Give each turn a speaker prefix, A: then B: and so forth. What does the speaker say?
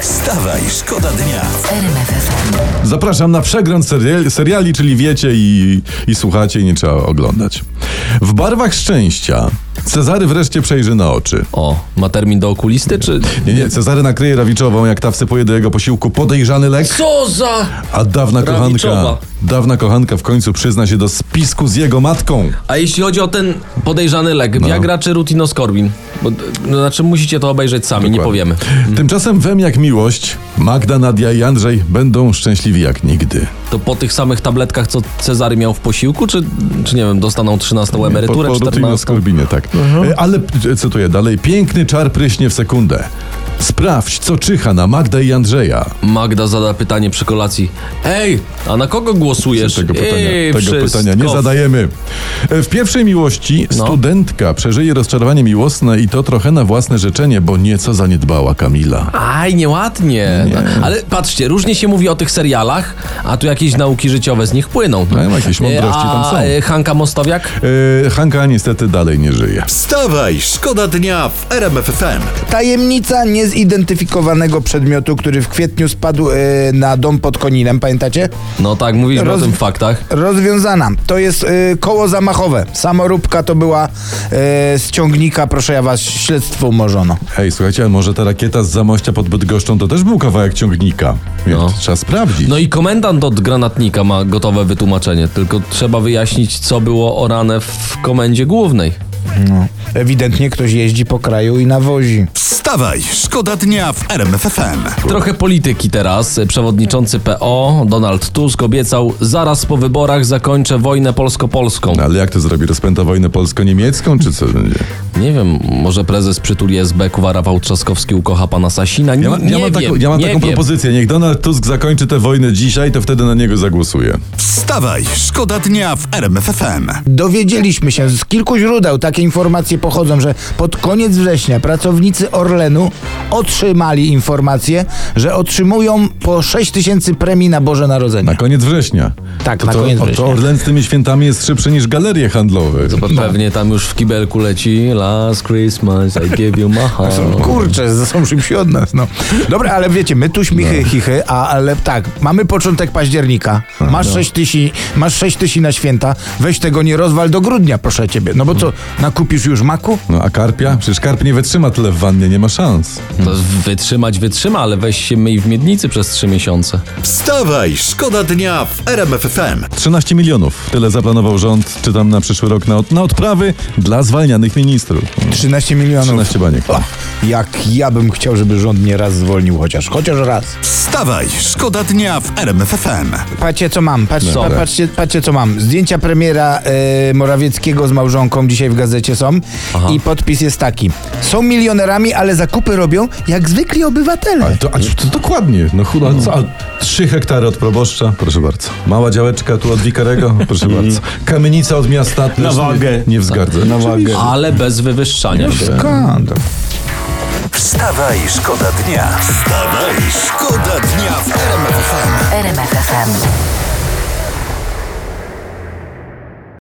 A: Wstawaj, szkoda dnia.
B: Zapraszam na przegląd seriali, seriali czyli wiecie i, i słuchacie i nie trzeba oglądać. W barwach szczęścia Cezary wreszcie przejrzy na oczy.
C: O, ma termin do okulisty, czy...
B: Nie, nie, Cezary nakryje Rawiczową, jak ta wsypuje do jego posiłku podejrzany lek,
C: Co za...
B: a dawna kochanka,
C: Rawiczowa.
B: dawna kochanka w końcu przyzna się do spisku z jego matką.
C: A jeśli chodzi o ten podejrzany lek,
B: No.
C: Viagra czy Rutinoskorbin? Bo, no, znaczy musicie to obejrzeć sami, nie powiemy. Mhm.
B: Tymczasem wem jak miłość, Magda, Nadia i Andrzej będą szczęśliwi jak nigdy.
C: To po tych samych tabletkach, co Cezary miał w posiłku, czy, czy nie wiem, dostaną 13 emeryturę,
B: po, po
C: 14?
B: skorbinie, tak. E, Ale e, cytuję dalej. Piękny czar pryśnie w sekundę. Sprawdź, co czyha na Magdę i Andrzeja.
C: Magda zada pytanie przy kolacji. Ej, a na kogo głosujesz?
B: Tego pytania,
C: Ej,
B: tego
C: wszystko.
B: pytania nie zadajemy. E, W pierwszej miłości
C: No.
B: studentka przeżyje rozczarowanie miłosne i to trochę na własne życzenie, bo nieco zaniedbała Kamila.
C: Aj, nieładnie. No, Ale patrzcie, różnie się mówi o tych serialach, a tu jakieś nauki życiowe z nich płyną.
B: No, jakieś mądrości tam są.
C: A e, Hanka Mostowiak?
B: E, Hanka niestety dalej nie żyje.
A: Wstawaj, szkoda dnia w RMF FM.
D: Tajemnica niezidentyfikowanego przedmiotu, który w kwietniu spadł e, na dom pod Koninem, pamiętacie?
C: No tak, mówiliśmy
D: Roz-
C: o tym w faktach.
D: Rozwiązana. To jest e, koło zamachowe. Samoróbka to była e, z ciągnika, proszę ja was, śledztwo umorzono.
B: Hej, słuchajcie, a może ta rakieta z Zamościa pod Bydgoszczą to też był kawałek ciągnika? Więc
C: No.
B: trzeba sprawdzić.
C: No i komendant od granatnika ma gotowe wytłumaczenie, tylko trzeba wyjaśnić, co było orane w komendzie głównej.
D: No. Ewidentnie ktoś jeździ po kraju i nawozi.
A: Wstawaj, szkoda dnia w RMF FM.
C: Trochę polityki teraz. Przewodniczący PO Donald Tusk obiecał, zaraz po wyborach zakończę wojnę polsko-polską.
B: No, Ale jak to zrobi? Rozpęta wojnę polsko-niemiecką, czy co będzie?
C: Nie wiem, może prezes przytuli SB Kuwa Rafał Trzaskowski ukocha pana Sasina? Nie,
B: Ja mam,
C: nie
B: ja mam,
C: wiem,
B: taką, ja mam
C: nie
B: taką
C: wiem.
B: propozycję. Niech Donald Tusk zakończy tę wojnę dzisiaj, to wtedy na niego zagłosuję.
A: Wstawaj, szkoda dnia w RMF FM.
D: Dowiedzieliśmy się z kilku źródeł, takie informacje pochodzą, że pod koniec września pracownicy Orlenu otrzymali informację, że otrzymują po 6 tysięcy premii na Boże
B: Na
D: Narodzenie.
B: koniec września.
D: Tak,
B: to,
D: na
B: to,
D: koniec
B: o,
D: września.
B: To Orlen z tymi świętami jest szybszy niż galerie handlowe.
C: Pewnie tam już w kibelku leci Last Christmas, I give you my heart.
D: Kurczę, są szybsi od nas, no. Dobra, ale wiecie, my tu śmichy,
B: No.
D: chichy, a, ale tak, mamy początek października, masz
B: no.
D: sześć tysi, masz sześć tysi na święta, weź tego nie rozwal do grudnia, proszę ciebie. No bo co, nakupisz już maku?
B: No a karpia? Przecież karp nie wytrzyma tyle w wannie, nie ma szans.
C: To wytrzymać wytrzyma, ale weź się myj w miednicy przez trzy miesiące.
A: Wstawaj, szkoda dnia w RMF FM.
B: 13 milionów. Tyle zaplanował rząd, czytam na przyszły rok, na, od- na odprawy dla zwalnianych ministrów.
D: 13 milionów.
B: 13 baniek.
D: O, jak ja bym chciał, żeby rząd nie raz zwolnił chociaż, chociaż raz.
A: Wstawaj, szkoda dnia w RMF FM.
D: Patrzcie co mam, patrzcie,
C: Dobra.
D: pa- patrzcie, patrzcie co mam. Zdjęcia premiera e, Morawieckiego z małżonką dzisiaj w gazecie są i podpis jest taki. Są milionerami, ale zakupy robią jak zwykli obywatele.
B: Ale to, a to dokładnie, no chuda, co? A 3 hektary od proboszcza, proszę bardzo. Mała działeczka tu od wikarego, proszę bardzo. Kamienica od miasta, też
E: Na wagę.
B: Nie, nie wzgardzę. Na wagę.
C: Ale bez wywyższania się.
D: Skandal.
A: Wstawaj, szkoda dnia. Wstawaj, szkoda dnia w RMF FM.
F: RMFFM.